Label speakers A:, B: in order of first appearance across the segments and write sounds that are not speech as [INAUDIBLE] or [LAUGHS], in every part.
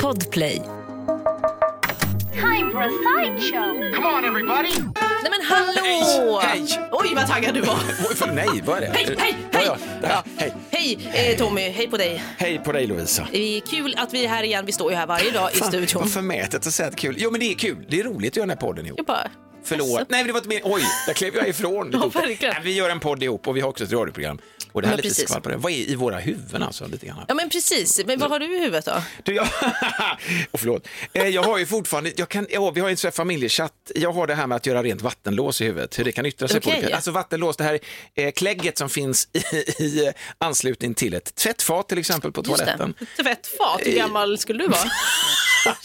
A: Podplay.
B: Time for a sideshow.
C: Come on, everybody!
A: Nej men hallå!
D: Hej!
A: Oj vad taggad du var.
D: Oj, för nej, vad är det?
A: Mm. Hej, hej,
D: Ja,
A: hej!
D: ja, ja, hej!
A: Hej eh, Tommy, hej på dig.
D: Hej på dig Lovisa.
A: Det är kul att vi är här igen. Vi står ju här varje dag i studion.
D: Vad förmätet att säga att kul. Jo men det är kul. Det är roligt att göra den här podden ihop.
A: Jag bara,
D: Förlåt.
A: Jaså?
D: Nej men det var inte min... Oj, där klev jag ifrån.
A: Ja, verkligen.
D: Nej, vi gör en podd ihop och vi har också ett radioprogram. Och det här
A: Men
D: är lite
A: precis.
D: skvall på det. Vad är i våra huvuden alltså? Lite grann.
A: Ja men precis, men vad har du i huvudet då?
D: Du, jag... [LAUGHS] och förlåt. Eh, Jag har ju fortfarande, jag kan, ja, vi har ju en sån här familjechatt. Jag har det här med att göra rent vattenlås i huvudet, hur det kan yttra sig på
A: Okej.
D: olika. Alltså vattenlås, det här eh, klägget som finns i, i eh, anslutning till ett tvättfat till exempel på
A: Just det.
D: toaletten. Eh.
A: Tvättfat, hur gammal skulle du vara?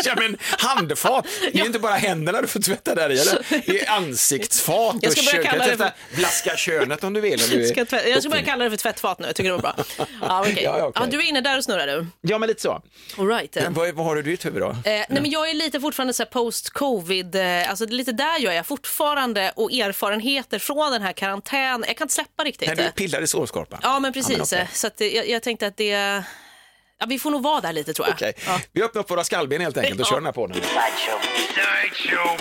D: Ja men handfat, det är ju inte bara händerna du får tvätta där i eller? Det är ansiktsfat
A: Jag
D: och
A: ska börja
D: kön. Kan
A: kalla det
D: tvätta Blaska könet om du vill. Om du
A: Jag
D: är
A: ska, tvätt, jag ska börja kalla det för tvättfat nu, jag tycker det var bra.
D: [LAUGHS]
A: Ja, okej.
D: Ja, ja, okej.
A: ja, du är inne där och snurrar du.
D: Ja men lite så.
A: All right. eh.
D: Vad, vad har du i ditt huvud då?
A: Eh, nej, men jag är lite fortfarande så här post-covid, eh, alltså det är lite där jag är fortfarande och erfarenheter från den här karantänen. Jag kan inte släppa riktigt. eh.
D: När du pillar i sårskorpan?
A: Ja, men precis.
D: okej.
A: eh, Så att, eh, jag, jag tänkte att det... Ja, vi får nog vara där lite tror jag.
D: Okej.
A: Ja.
D: Vi öppnar upp våra skallben helt enkelt och
A: Ja.
D: kör den här podden.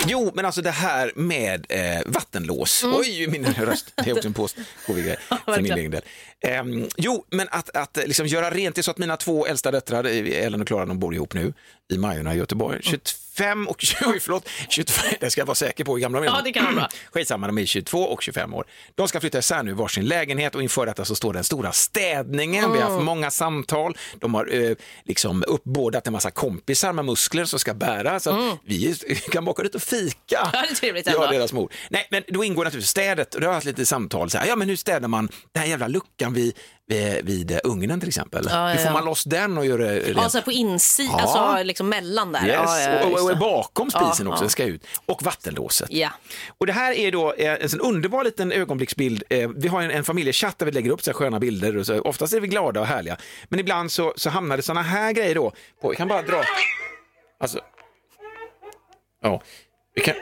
D: Jo, men alltså det här med eh, vattenlås. Oj, min röst. Det är också en post covid för min
A: verkligen.
D: egen del. Ehm, jo, men att, att eh, liksom göra rent. Det är så att mina två äldsta döttrar, eh, Ellen och Klara, de bor ihop nu i Majorna i Göteborg. 25 och [LAUGHS] 20, förlåt, 25, det ska jag vara säker på hur gamla de är.
A: Ja, det kan vara bra.
D: [CLEARS THROAT] Skitsamma, de är 22 och 25 år. De ska flytta isär nu i varsin lägenhet och inför detta så står den stora städningen. Vi har haft många samtal. De har eh, liksom uppbådat en massa kompisar med muskler som ska bära. Så att vi kan baka dit och fika.
A: Mm. [LAUGHS] Ja, det är trevligt
D: Ja,
A: ändå.
D: deras mor. Nej, men då ingår naturligtvis städet. Och då har jag haft lite samtal. Så här, ja, men hur städar man den här jävla luckan vid, vid, vid eh, ugnen till exempel?
A: ja,
D: Hur får
A: ja.
D: man loss den och göra rent?
A: Ja, så här på insidan,
D: Ja.
A: alltså liksom mellan där.
D: Yes.
A: Ja, ja,
D: och, och,
A: just
D: och
A: det.
D: bakom spisen
A: Ja,
D: också,
A: ja.
D: den ska ut. Och vattenlåset.
A: Ja.
D: Och det här är då eh, en sån underbar liten ögonblicksbild. Eh, Vi har en, en familjechatt där vi lägger upp så här sköna bilder. Och så, oftast är vi glada och härliga. Men ibland så, så hamnar det såna här grejer då. På, jag kan bara dra... Alltså... Ja. Vi kan...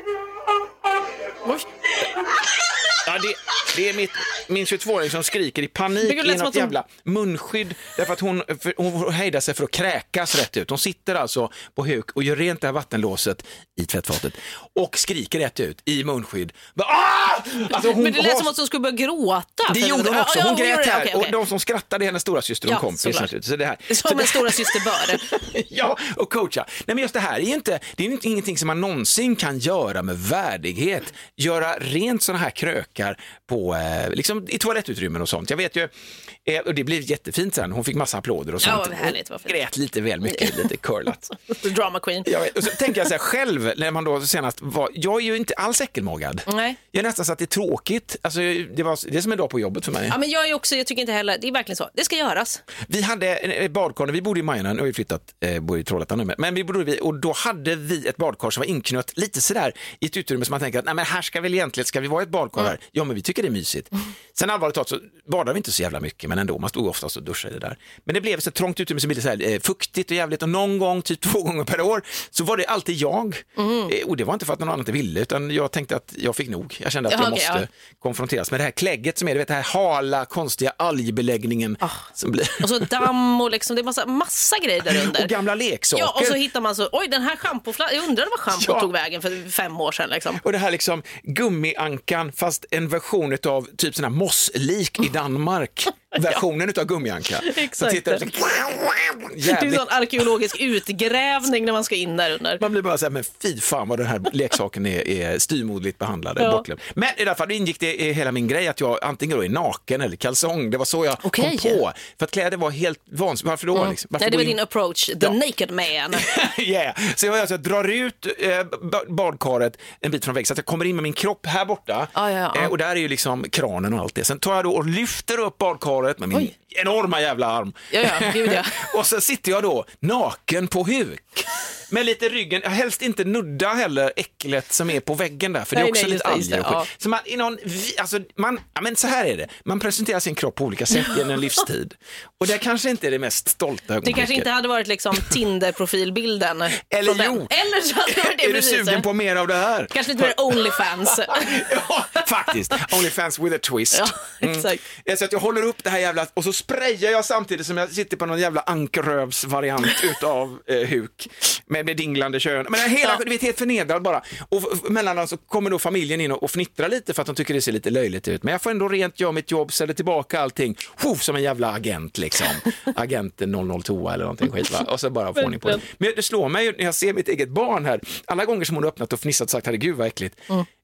D: Ja, det, det är mitt, min 22-åring som skriker i
A: Det
D: panik
A: lät som
D: i något
A: att hon-
D: jävla munskydd därför att hon, för, hon hejdar sig för att kräkas rätt ut. Hon sitter alltså på huk och gör rent det här vattenlåset i tvättfatet och skriker rätt ut i munskydd. Bara, "Ah!" Alltså, hon
A: Men det lät
D: har-
A: som att hon skulle börja gråta.
D: det
A: för-
D: gjorde hon
A: Ja,
D: också.
A: ja,
D: Hon
A: gjorde
D: grät
A: det.
D: här.
A: Okej, okej.
D: Och de som skrattade är hennes stora syster och
A: Ja,
D: kompis.
A: såklart.
D: naturligtvis. Så det här. så
A: Som
D: det
A: en stora syster bör.
D: [LAUGHS] ja, och coacha. Nej, men just det här är ju inte, det är ju inte- ingenting som man någonsin kan göra med värdighet. Göra rent sådana här krökar på, eh, liksom, i toalettutrymmen och sånt. Jag vet ju, eh, och det blev jättefint sen. Hon fick massa applåder och
A: Ja,
D: sånt.
A: vad härligt, vad fint.
D: grät lite
A: [LAUGHS]
D: väl mycket, lite curlat.
A: Drama queen.
D: Jag vet, och så tänker jag så här själv, när man då senast var, jag är ju inte alls äckelmagad.
A: Nej.
D: Jag är nästan så att det är tråkigt. Alltså, det, var, det är som en dag på jobbet för mig.
A: Ja, men jag är också, jag tycker inte heller, det är verkligen så, det ska göras.
D: Vi hade en- ett badkar, när vi bodde i Majorna, nu har vi flyttat, eh, bor i Trollhättan nu, men- men vi bodde vi och då hade vi ett badkar som var inknött lite sådär i ett utrymme som man tänker att nej men här ska väl egentligen, ska vi vara i ett badkar här? Ja men vi tycker det är mysigt. Sen allvarligt talat så badade vi inte så jävla mycket men ändå, man stod oftast och duschade där. Men det blev så trångt utrymme så det blev så här, eh, fuktigt och jävligt och någon gång, typ [LAUGHS] två gånger per år, så var det alltid jag. Eh, och det var inte för att någon annan inte ville utan jag tänkte att jag fick nog. Jag kände att
A: Jaha,
D: jag
A: okej,
D: måste konfronteras med det här klägget som är, du vet, den här hala, konstiga algbeläggningen som blir.
A: Och så damm och liksom, det är massa, massa grejer där under.
D: Och gamla leksaker.
A: Ja, och så hittar man så, oj den här schampoflaskan, jag undrar var schampot
D: Ja.
A: tog vägen för fem år sedan liksom.
D: Och det här liksom gummiankan fast en version av typ sån här mosslik i
A: [LAUGHS]
D: Danmark. Versionen utav gummianka. Så
A: Exakt.
D: tittar du så-
A: Det är en
D: Jävligt.
A: sån arkeologisk utgrävning när man ska in där under.
D: Man blir bara så här, men fy fan vad den här leksaken är, är styrmodligt behandlad.
A: Ja.
D: bortglömd. Men i alla fall då ingick det i hela min grej att jag antingen då är naken eller kalsong. Det var så jag
A: Okej.
D: kom på. För att kläder var helt vansinnigt. Varför då? Liksom? Varför
A: Nej, det
D: gå
A: var
D: in-
A: din approach, the
D: Ja.
A: naked
D: [LAUGHS]
A: man.
D: yeah. Så jag alltså, jag drar ut eh, ba- badkaret en bit från väggen så att jag kommer in med min kropp här borta.
A: Ja, ja, ja.
D: Eh, och där är ju liksom kranen och allt det. Sen tar jag då och lyfter upp badkaret med min
A: Oj.
D: enorma jävla arm. [LAUGHS]
A: Ja, ja, gud, ja.
D: och så sitter jag då naken på huk. Men lite ryggen, helst inte nudda heller äcklet som är på väggen där, för det är
A: Nej,
D: också
A: nej,
D: lite
A: just det,
D: alger
A: just
D: och
A: det,
D: skit. Så man, i någon, vi- alltså, man, ja, men så här är det, man presenterar sin kropp på olika sätt
A: [LAUGHS]
D: genom en livstid. Och det kanske inte är det mest stolta
A: Det
D: ögonblicket.
A: kanske inte hade varit liksom Tinder-profilbilden.
D: Eller
A: från den.
D: jo.
A: Eller så hade det varit det
D: [LAUGHS] Är du
A: precis.
D: sugen på mer av det här?
A: Kanske lite mer
D: [LAUGHS]
A: Onlyfans.
D: ja, [LAUGHS] faktiskt. Onlyfans with a twist.
A: Ja, exakt.
D: Mm. Så att jag håller upp det här jävla och så sprayar jag samtidigt som jag sitter på någon jävla ankrövsvariant utav eh, huk med, med dinglande kön. Men jag är hela,
A: Ja.
D: du vet, helt förnedrad bara. Och f- mellan dem så kommer då familjen in och, och fnittrar lite för att de tycker det ser lite löjligt ut. Men jag får ändå rent göra mitt jobb, ställer tillbaka allting, Huff, som en jävla agent liksom. Agenten 002 eller någonting skit va. Och så bara får ordning på det. Men det slår mig ju när jag ser mitt eget barn här, alla gånger som hon har öppnat och fnissat och sagt herregud vad äckligt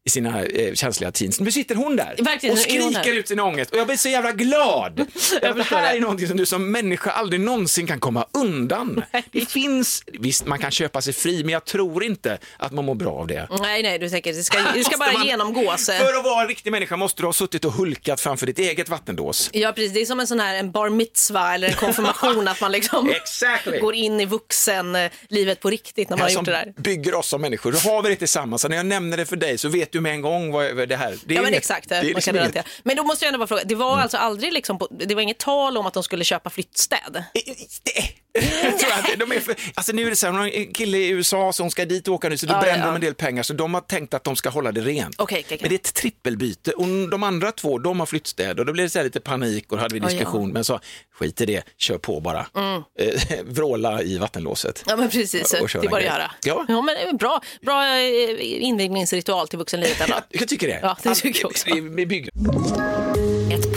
D: i sina eh, känsliga teens. Nu sitter hon där
A: Verkligen,
D: och
A: nu är hon
D: skriker
A: här.
D: ut sin ångest och jag blir så
A: [LAUGHS]
D: jävla glad. jag det
A: förstår
D: här
A: det.
D: är någonting som du som människa aldrig någonsin kan komma undan. Det finns, visst man kan köpa sig fri men jag tror inte att man mår bra av det.
A: Nej, nej, du tänker det ska, det ska
D: Måste
A: bara
D: man-
A: genomgås.
D: För att vara en riktig människa måste du ha suttit och hulkat framför ditt eget vattendås.
A: Ja, precis. Det är som en sån här en bar mitzvah eller en konfirmation att man liksom
D: [LAUGHS] Exactly. Alltså,
A: går in i vuxenlivet på riktigt när man har
D: som
A: gjort det där.
D: bygger oss som människor. Då har vi det tillsammans. Så när jag nämner det för dig så vet du med en gång vad vad det här det är.
A: Ja men
D: inget-
A: exakt,
D: det är
A: man
D: liksom
A: kan
D: inget- Mm.
A: relatera. Men då måste jag ändå bara fråga, det var alltså aldrig liksom, på, det var inget tal om att de skulle köpa flyttstäd?
D: Nej. Jag Eh, [LAUGHS] tror att de är för, alltså nu är det så här, hon har en kille i USA så hon ska dit och åka nu så då
A: Ja,
D: bränner
A: ja,
D: de
A: ja.
D: en del pengar så de har tänkt att de ska hålla det rent.
A: Okej, okej, okej.
D: Men det är ett trippelbyte och de andra två de har flyttstäd och då blev det så här lite panik och då hade vi
A: Ja, ja.
D: diskussion men så skit i det, kör på bara. Eh, [LAUGHS] vråla i vattenlåset.
A: Ja men precis,
D: Och köra
A: det är bara att
D: en grej.
A: göra.
D: Ja.
A: men det är bra, bra eh, invigningsritual till vuxenlivet ändå.
D: Jag, jag tycker det.
A: Ja, det tycker jag också.
D: Vi- vi bygger-
B: Ett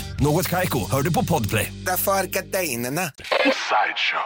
C: Något Kaiko, hör du på Podplay.
E: Därför är gardinerna.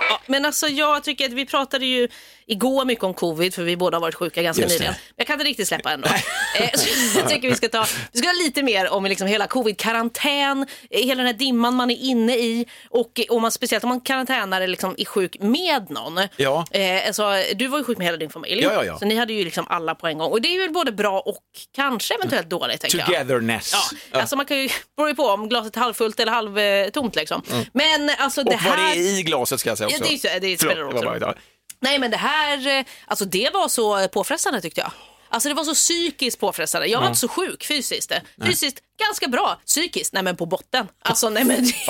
A: Ja, men alltså jag tycker att vi pratade ju igår mycket om covid för vi båda har varit sjuka ganska
D: Just det.
A: nyligen. Jag kan inte riktigt släppa ändå. [LAUGHS] Eh, så jag tycker vi ska ta vi ska ha lite mer om liksom hela covid-karantän, eh, hela den här dimman man är inne i och eh, om man, speciellt om man karantänar eller liksom är sjuk med någon.
D: Ja.
A: Eh, alltså, du var ju sjuk med hela din familj.
D: Ja, ja, ja.
A: Så ni hade ju liksom alla på en gång och det är väl både bra och kanske eventuellt dåligt. tänker jag.
D: Togetherness.
A: Ja, alltså man kan ju, [LAUGHS] beror ju på om glaset är halvfullt eller halvtomt liksom. Men alltså det
D: Mm. Och vad
A: här...
D: det är i glaset ska jag säga
A: Ja,
D: också.
A: det är ju så- det spelar
D: Förlåt,
A: roll
D: det var
A: också.
D: bara-
A: Nej men det här, eh, alltså det var så eh, påfrestande tyckte jag. Alltså det var så psykiskt påfrestande. Jag var inte så sjuk fysiskt. eh. Fysiskt ganska bra, psykiskt, nej men på botten. Alltså nej men, det, [LAUGHS]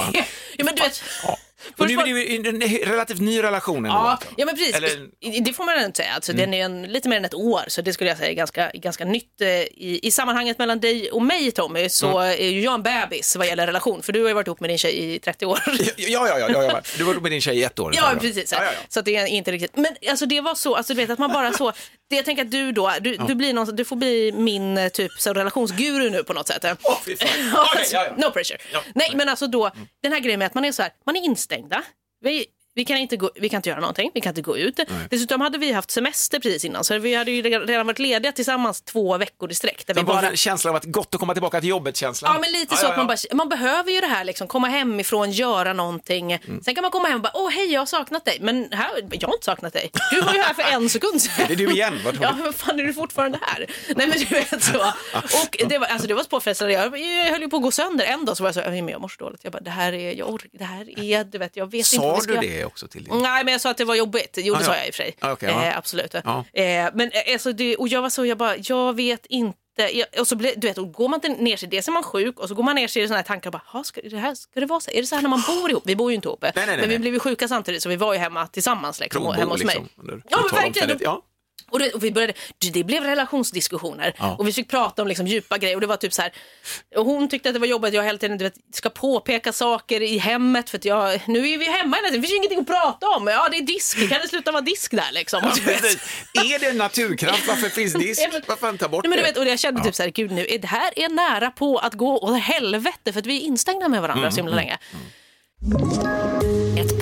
A: ja, men du vet.
D: Ja. Och
A: Först
D: nu är
A: var-
D: det ju i en relativt ny relation ändå.
A: Ja,
D: alltså.
A: ja men precis,
D: Eller- Mm.
A: det får man ändå inte säga. Alltså, Den är ju en, lite mer än ett år så det skulle jag säga är ganska, ganska nytt. eh, I, I sammanhanget mellan dig och mig Tommy så
D: Mm.
A: är ju jag en bebis vad gäller relation för du har ju varit ihop med din tjej i 30 år.
D: [LAUGHS]
A: [LAUGHS]
D: Ja, ja, ja, ja, ja. Du var med din tjej i ett år.
A: Ja,
D: ungefär, va?
A: precis.
D: Ja, ja, ja.
A: Så att det är inte riktigt. Men alltså det var så, alltså du vet att man bara så. [LAUGHS] Det jag tänker att du då, du, du, blir någon, du får bli min eh, typ så relationsguru nu på något sätt.
D: Åh, fy
A: [LAUGHS]
D: fan. Okej, ja, ja.
A: No pressure.
D: Ja. Mm.
A: Nej, men alltså då, den här grejen med att man är så här, man är instängda. Vi, vi kan, inte gå, vi kan inte göra någonting, vi kan inte gå ut. Dessutom hade vi haft semester precis innan, så vi hade ju redan varit lediga tillsammans två veckor i sträck. Där vi
D: Det var
A: bara...
D: en känsla av att gott att komma tillbaka till jobbet-känslan.
A: Ja, men lite så att man bara, man behöver ju det här liksom, komma hemifrån, göra någonting.
D: Mm.
A: Sen kan man komma hem och bara, åh hej jag har saknat dig, men här, jag har inte saknat dig. Du var ju här för en sekund sedan.
D: Det är du igen, vad
A: Ja,
D: tråkigt.
A: men fan är du fortfarande här? Nej men du vet så. Och det var, alltså, det var så påfrestande, jag, jag höll ju på att gå sönder en dag så var jag så, "Nej, men jag mår så dåligt. Jag bara, det här är, jag orkar, det här är, du vet, jag Mm. vet inte vad
D: Sa
A: vi ska
D: du
A: göra."
D: det också till din...
A: Nej, men jag sa att det var jobbigt. Jo, det
D: Ah,
A: sa
D: ja.
A: jag i och för sig.
D: Ah, okej, ja.
A: eh, absolut.
D: Ja.
A: Eh, men eh, alltså, det, och jag var så, jag bara, jag vet inte. Jag, och så blir, du vet, och går man inte ner sig, dels är man sjuk och så går man ner sig i sådana här tankar och bara, "Ha, ska det, här, ska det vara så? Är det så här när man bor ihop? Vi bor ju inte ihop,
D: nej, nej,
A: men vi
D: nej.
A: blev ju sjuka samtidigt så vi var ju hemma tillsammans liksom, och hemma hos mig.
D: under
A: Ja, men
D: brutala
A: verkligen. [LAUGHS]
D: omständigheter. Ja.
A: Och, det, och vi började, det- det blev relationsdiskussioner
D: Ja.
A: och vi fick prata om liksom djupa grejer och det var typ så här, och hon tyckte att det var jobbigt att jag hela tiden du vet, ska påpeka saker i hemmet för att jag, nu är vi hemma hela tiden, det finns ju ingenting att prata om, ja det är disk, kan det sluta vara disk där liksom? Och
D: Ja,
A: du vet.
D: precis. Är det en naturkraft? Varför finns disk?
A: Ja, men-
D: Varför inte ta bort
A: Nej, men du
D: det?
A: vet, och jag kände typ så här, gud nu, är det här är nära på att gå åt helvete för att vi är instängda med
D: Mm,
A: varandra så himla länge.
B: Ett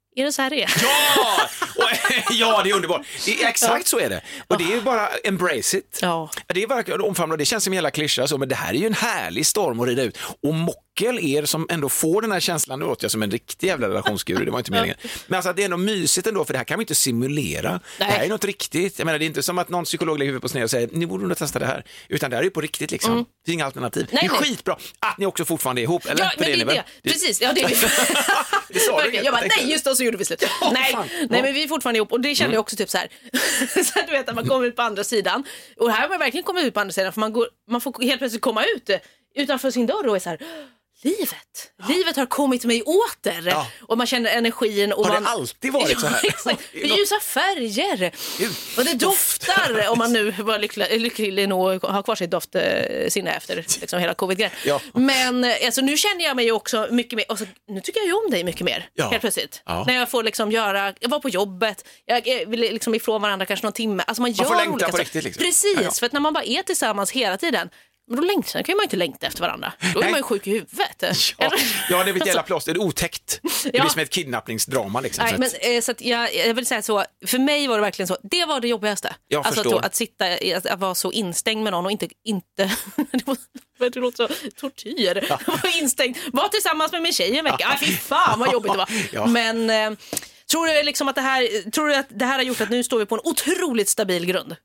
A: Är det så här det är?
D: Ja! Och, [LAUGHS] ja, det är underbart. Det är, exakt så är det. Och det är ju bara embrace it.
A: Ja.
D: Det är bara omfamna, det känns som en jävla klyscha så, men det här är ju en härlig storm att rida ut. Och mockel er som ändå får den här känslan, nu låter jag som en riktig jävla relationsguru, det var inte meningen. Men alltså att det är ändå mysigt ändå, för det här kan vi inte simulera. Det här är
A: Nej.
D: något riktigt. Jag menar, det är inte som att någon psykolog lägger huvudet på sned och säger, ni borde nog testa det här. Utan det här är ju på riktigt liksom. Det är inga alternativ.
A: Mm. Nej,
D: det är
A: nej.
D: skitbra att ni också fortfarande är ihop, eller?
A: Ja,
D: För
A: men det är
D: ni
A: det.
D: väl?
A: Precis, ja det är vi.
D: [LAUGHS]
A: [LAUGHS]
D: Det sa du
A: Verkligen.
D: inget,
A: jag bara,
D: tänkte jag.
A: nej just det, och så gjorde vi slut. nej,
D: fan. Mm.
A: nej, men vi är fortfarande ihop och det kände jag också typ så här. [LAUGHS] så att du vet att man kommer ut på andra sidan och här har man verkligen kommit ut på andra sidan för man, går, man får helt plötsligt komma ut eh, utanför sin dörr och är så här, livet, livet har kommit mig åter och man känner energin. Och
D: Har det
A: man...
D: alltid varit så här?
A: [LAUGHS] Ja, exakt. Det är Ljusa färger och det doftar om man nu var lycklig, lycklig nog att ha kvar sitt doftsinne efter liksom, hela covid-grejen.
D: Ja.
A: Men eh, alltså, nu känner jag mig ju också mycket mer, alltså, nu tycker jag ju om dig mycket mer
D: Ja.
A: helt plötsligt.
D: Ja.
A: När jag får liksom göra, jag var på jobbet, jag är liksom ifrån varandra kanske någon timme. Alltså man,
D: får
A: gör
D: längta
A: olika
D: på
A: saker.
D: riktigt, liksom.
A: Precis,
D: Ja, ja.
A: för att när man bara är tillsammans hela tiden men då längtar, sen kan ju man ju inte längta efter varandra. Då är
D: Nej.
A: man ju sjuk i huvudet.
D: Ja,
A: Eller? Alltså,
D: ja, det blir ett jävla plåster, det är otäckt. Det blir
A: Ja.
D: som ett kidnappningsdrama liksom.
A: Nej,
D: så att-
A: men, eh, så att jag, jag vill säga så, för mig var det verkligen så, det var det jobbigaste.
D: Jag
A: alltså
D: förstår.
A: att, att sitta, i- att, att vara så instängd med någon och inte, inte [LAUGHS] det, var, det låter så, tortyr. [LAUGHS] Var instängd, var tillsammans med min tjej en vecka, ah, fy fan vad jobbigt det var.
D: [LAUGHS] Ja.
A: Men eh, tror du, liksom att det här, tror du att det här har gjort att nu står vi på en otroligt stabil grund?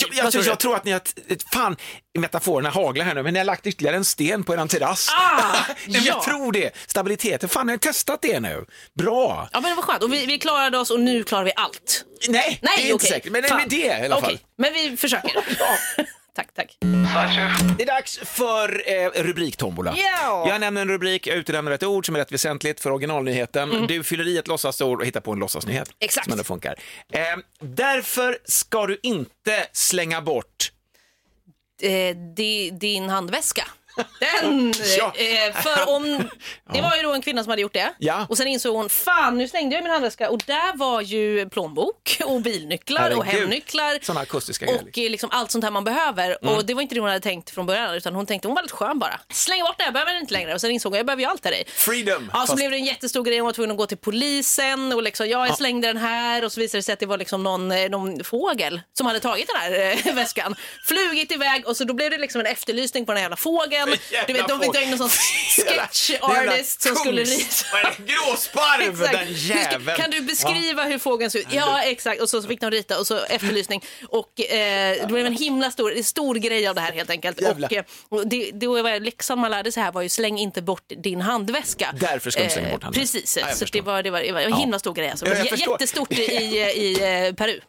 D: Jag,
A: Vad
D: jag,
A: tror
D: tror
A: du?
D: jag tror att ni har, ett- ett- fan, metaforerna haglar här nu, men ni har lagt ytterligare en sten på eran terrass. [LAUGHS]
A: Ah,
D: Nej, men Jag
A: ja.
D: tror det. Stabiliteten, fan ni har testat det nu. Bra.
A: Ja men det var skönt, och vi, vi klarade oss och nu klarar vi allt.
D: Nej,
A: Nej,
D: det är inte
A: okej.
D: säkert, men det
A: Fan.
D: är det i alla fall.
A: Okej, Men vi försöker.
D: [LAUGHS]
A: [LAUGHS] tack, tack.
D: Det är dags för eh, rubriktombola.
A: Ja.
D: Jag nämner en rubrik, jag utelämnar ett ord som är rätt väsentligt för originalnyheten. Du fyller i ett låtsasord och hittar på en låtsasnyhet.
A: Mhm. Exakt.
D: Som ändå funkar. Eh, därför ska du inte slänga bort
A: eh, di, din handväska. Den!
D: [LAUGHS] Ja.
A: Eh, för
D: [LAUGHS]
A: om, det var ju då en kvinna som hade gjort det.
D: Ja.
A: Och sen insåg hon, fan nu slängde jag min handväska och där var ju plånbok och bilnycklar och
D: Herregud.
A: hemnycklar.
D: sådana akustiska grejer. Mm.
A: Och eh, liksom allt sånt här man behöver. Och det var inte det hon hade tänkt från början utan hon tänkte hon var lite skön bara. Släng bort det, jag behöver det inte längre. Och sen insåg hon, jag behöver ju allt här i.
D: Freedom!
A: Ja, så
D: Fast-
A: blev det en jättestor grej. Hon var tvungen att gå till polisen och liksom, ja, jag slängde den här och så visade det sig att det var liksom någon, eh, någon fågel som hade tagit den här eh, [LAUGHS] väskan, flugit iväg och så då blev det liksom en efterlysning på den här jävla fågeln.
D: [LAUGHS] Jävla
A: Du vet, de fick ta in någon sån
D: Jävla-
A: sketchartist som
D: [LAUGHS] jävla
A: skulle
D: kungs-
A: rita.
D: Vad är det?
A: [LAUGHS]
D: Gråsparv,
A: Exakt.
D: den jäveln.
A: Kan du beskriva hur fågeln såg ut? Ja, exakt. Och så fick de rita och så efterlysning. Och eh, det blev en himla stor, stor grej av det här helt enkelt.
D: Jävlar.
A: Och, eh, och det, det var läxan man lärde sig här var ju släng inte bort din handväska. Eh,
D: Därför ska du slänga bort handväskan.
A: Precis,
D: Ja, jag
A: så
D: förstår.
A: det var, det var, det var en himla stor grej. Alltså.
D: Ja,
A: Ja,
D: jag förstår.
A: jättestort i, i, i eh, Peru.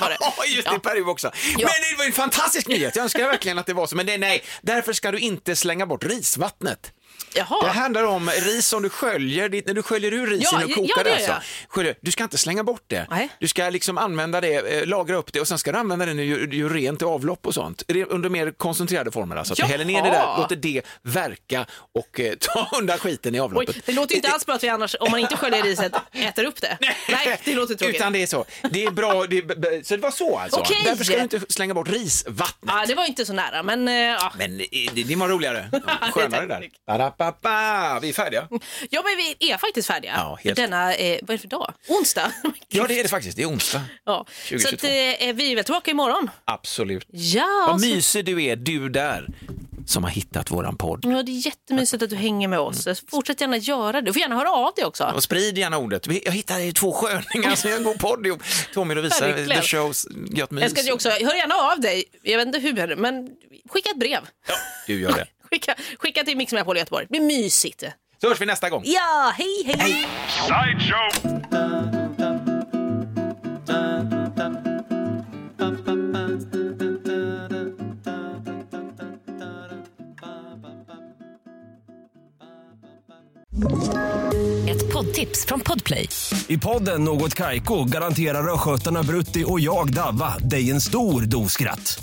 A: var det.
D: [LAUGHS] Ja, just det, i Peru också. Men det var en fantastisk nyhet, jag önskar verkligen att det var så. Men det, nej, därför ska du inte slänga bort risvattnet.
A: Jaha.
D: Det handlar om ris som du sköljer, ditt- när du sköljer ur ris
A: Ja,
D: innan du
A: ja,
D: kokar
A: ja, det
D: det
A: gör
D: alltså.
A: jag.
D: Sköljer, du ska inte slänga bort det.
A: Nej.
D: Du ska liksom använda det, eh, lagra upp det och sen ska du använda det när du gör- du gör rent i avlopp och sånt. Re- Under mer koncentrerade former alltså. Att du
A: Jaha.
D: häller ner det där, låter det verka och eh, [LAUGHS] ta undan skiten i
A: Oj,
D: avloppet.
A: det låter ju inte alls bra att vi annars, om man inte sköljer
D: [LAUGHS]
A: riset, äter upp det. Nej, det låter tråkigt.
D: Utan det är så. Det är bra, det är, b- b- så det var så alltså.
A: Okej. Ah.
D: Därför ska du inte slänga bort risvattnet.
A: Ja, det var ju inte så nära, men eh, ja.
D: Men eh, det, det
A: [LAUGHS]
D: var roligare. Skönare där.
A: tack.
D: Ba-da-ba-ba. Vi är färdiga.
A: Ja, men vi är faktiskt färdiga.
D: Ja, helt.
A: För Denna, eh, vad är det för dag? Onsdag.
D: [LAUGHS] Ja, det är det faktiskt. Det är onsdag.
A: ja. Så att,
D: 2022.
A: eh, vi är väl tillbaka imorgon.
D: Absolut.
A: Ja,
D: Vad
A: så-
D: mysig du är, du där, som har hittat våran podd.
A: ja, det är jättemysigt att du hänger med oss.
D: Mm.
A: Fortsätt gärna göra det. Du får gärna höra av dig också.
D: Och sprid gärna ordet. Vi- Jag hittade två sköningar som gör en god podd ihop. Tommy och Lovisa,
A: Verkligen.
D: the shows, gött mys.
A: Jag ska ju också, hör gärna av dig. Jag vet inte hur, men skicka ett brev.
D: Du gör det.
A: [LAUGHS] Skicka, skicka till Mix Megapol i Göteborg. Det blir mysigt.
D: Så hörs vi nästa gång.
A: Ja, hej! hej.
B: Ett poddtips från Podplay.
C: I podden Något Kaiko garanterar östgötarna Brutti och jag, Davva, dig en stor dos skratt.